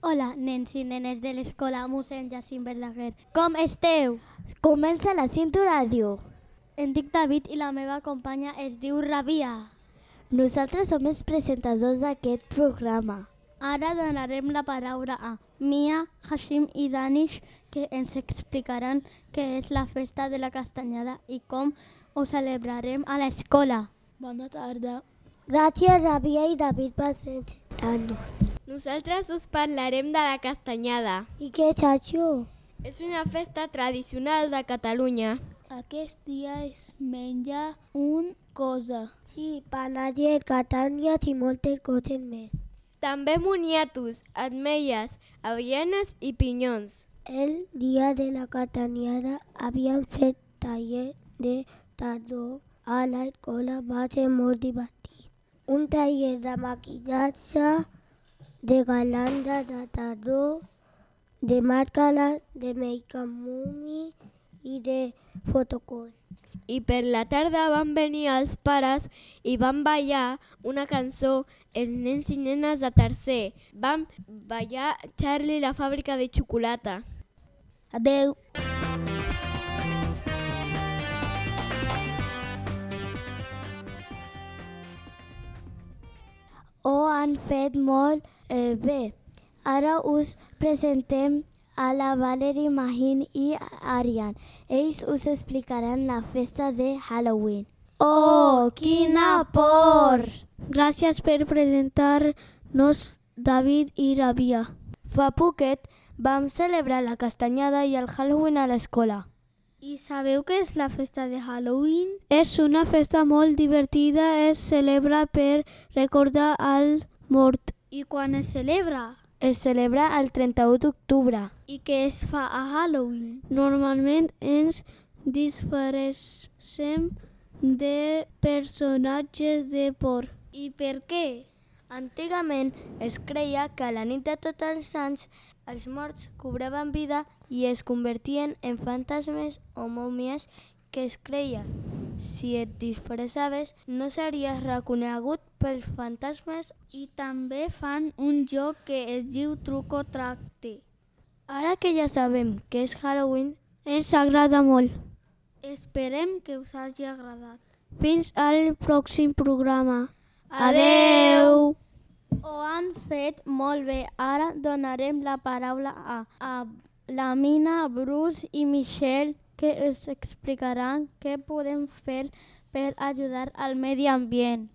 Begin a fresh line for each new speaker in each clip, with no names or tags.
Hola, nens i nenes de l'escola mossèn Jacint Verdaguer. Com esteu?
Comença la Cinto Ràdio.
Em dic David i la meva companya es diu Rabia.
Nosaltres som els presentadors d'aquest programa.
Ara donarem la paraula a Mia, Hashim i Danish que ens explicaran què és la festa de la castanyada i com ho celebrarem a l'escola.
Bona tarda.
Gràcies, Rabia i David, per presentar-nos.
Nosaltres us parlarem de la castanyada.
I què és això?
És una festa tradicional de Catalunya.
Aquest dia es menja un cosa.
Sí, panallet, catànies i moltes coses més.
També moniatos, ametlles, avellanes i pinyons.
El dia de la cataniada havien fet taller de tardor a l'escola, va ser molt divertit. Un taller de maquillatge, de galanda de tardor, de màscara, de make-up mummy i de fotocol.
I per la tarda van venir els pares i van ballar una cançó els nens i nenes de tercer. Van ballar Charlie la fàbrica de xocolata.
Adeu.
Ho han fet molt Oh, eh, bé. Ara us presentem a la Valerie Mahin i Arian. Ells us explicaran la festa de Halloween.
Oh, quina por!
Gràcies per presentar-nos David i Rabia.
Fa poquet vam celebrar la castanyada i el Halloween a l'escola.
I sabeu què és la festa de Halloween?
És una festa molt divertida, es celebra per recordar al mort.
I quan es celebra?
Es celebra el 31 d'octubre.
I què es fa a Halloween?
Normalment ens disfaressem de personatges de por.
I per què?
Antigament es creia que a la nit de tots els sants els morts cobraven vida i es convertien en fantasmes o mòmies que es creia. Si et disfressaves no series reconegut pels fantasmes.
I també fan un joc que es diu truco tracte.
Ara que ja sabem que és Halloween, ens agrada molt.
Esperem que us hagi agradat.
Fins al pròxim programa.
Adeu! Ho han fet molt bé. Ara donarem la paraula a, a la Mina, Bruce i Michelle que ens explicaran què podem fer per ajudar al medi ambient.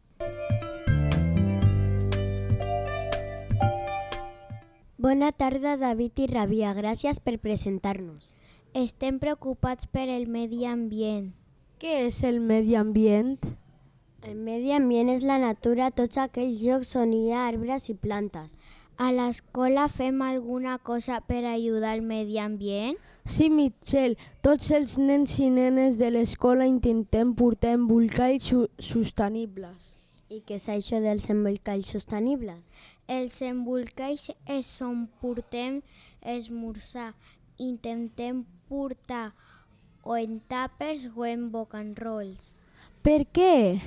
Bona tarda, David i Rabia. Gràcies per presentar-nos.
Estem preocupats per el medi ambient.
Què és el medi ambient?
El medi ambient és la natura, tots aquells llocs on hi ha arbres i plantes.
A l'escola fem alguna cosa per ajudar al medi ambient?
Sí, Mitchell. Tots els nens i nenes de l'escola intentem portar embolcalls su sostenibles.
I què és això dels embolcalls sostenibles?
Els embolcalls és on portem esmorzar. Intentem portar o en tàpers o en bocanrolls.
Per què?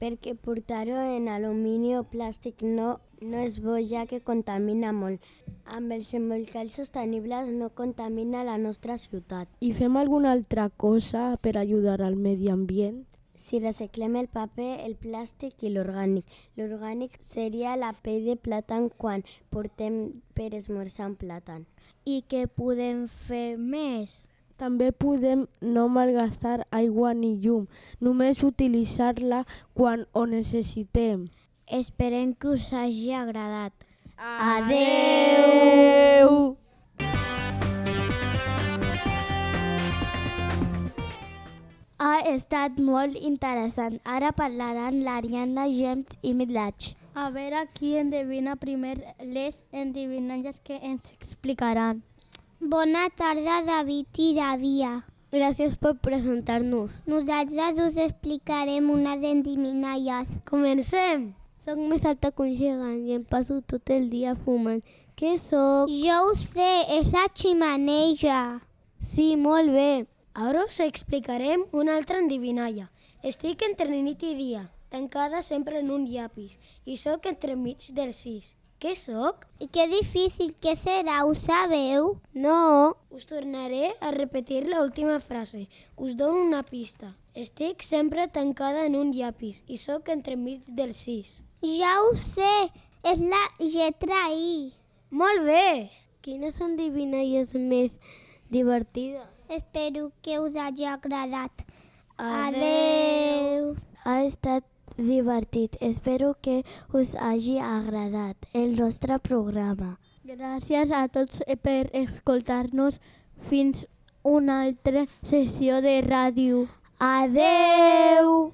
Perquè portar-ho en alumini o plàstic no, no és bo ja que contamina molt. Amb els embolcalls sostenibles no contamina la nostra ciutat.
I fem alguna altra cosa per ajudar al medi ambient?
Si reciclem el paper, el plàstic i l'orgànic. L'orgànic seria la pell de plàtan quan portem per esmorzar un plàtan.
I què podem fer més?
També podem no malgastar aigua ni llum, només utilitzar-la quan ho necessitem.
Esperem que us hagi agradat.
Adeu!
Ha estat molt interessant. Ara parlaran l'Ariadna James i Midlatch.
A veure qui endevina primer les endivinances que ens explicaran.
Bona tarda, David i Davia.
Gràcies per presentar-nos.
Nosaltres us explicarem unes endivinalles.
Comencem! Soc més alta que un gegant i em passo tot el dia fumant. Què sóc?
Jo ho sé, és la ximaneja.
Sí, molt bé.
Ara us explicarem una altra endivinalla. Estic entre nit i dia, tancada sempre en un llapis, i sóc entre mig dels sis.
què sóc?
I que difícil que serà, ho sabeu?
No. Us tornaré a repetir la última frase. Us dono una pista. Estic sempre tancada en un llapis i sóc entremig dels sis.
Ja ho sé, és la lletra I.
Molt bé!
Quines endivinalles més divertides?
Espero que us hagi agradat. Adeu!
Ha estat divertit. Espero que us hagi agradat el nostre programa.
Gràcies a tots eh, per escoltar-nos. Fins una altra sessió de ràdio.
Adeu!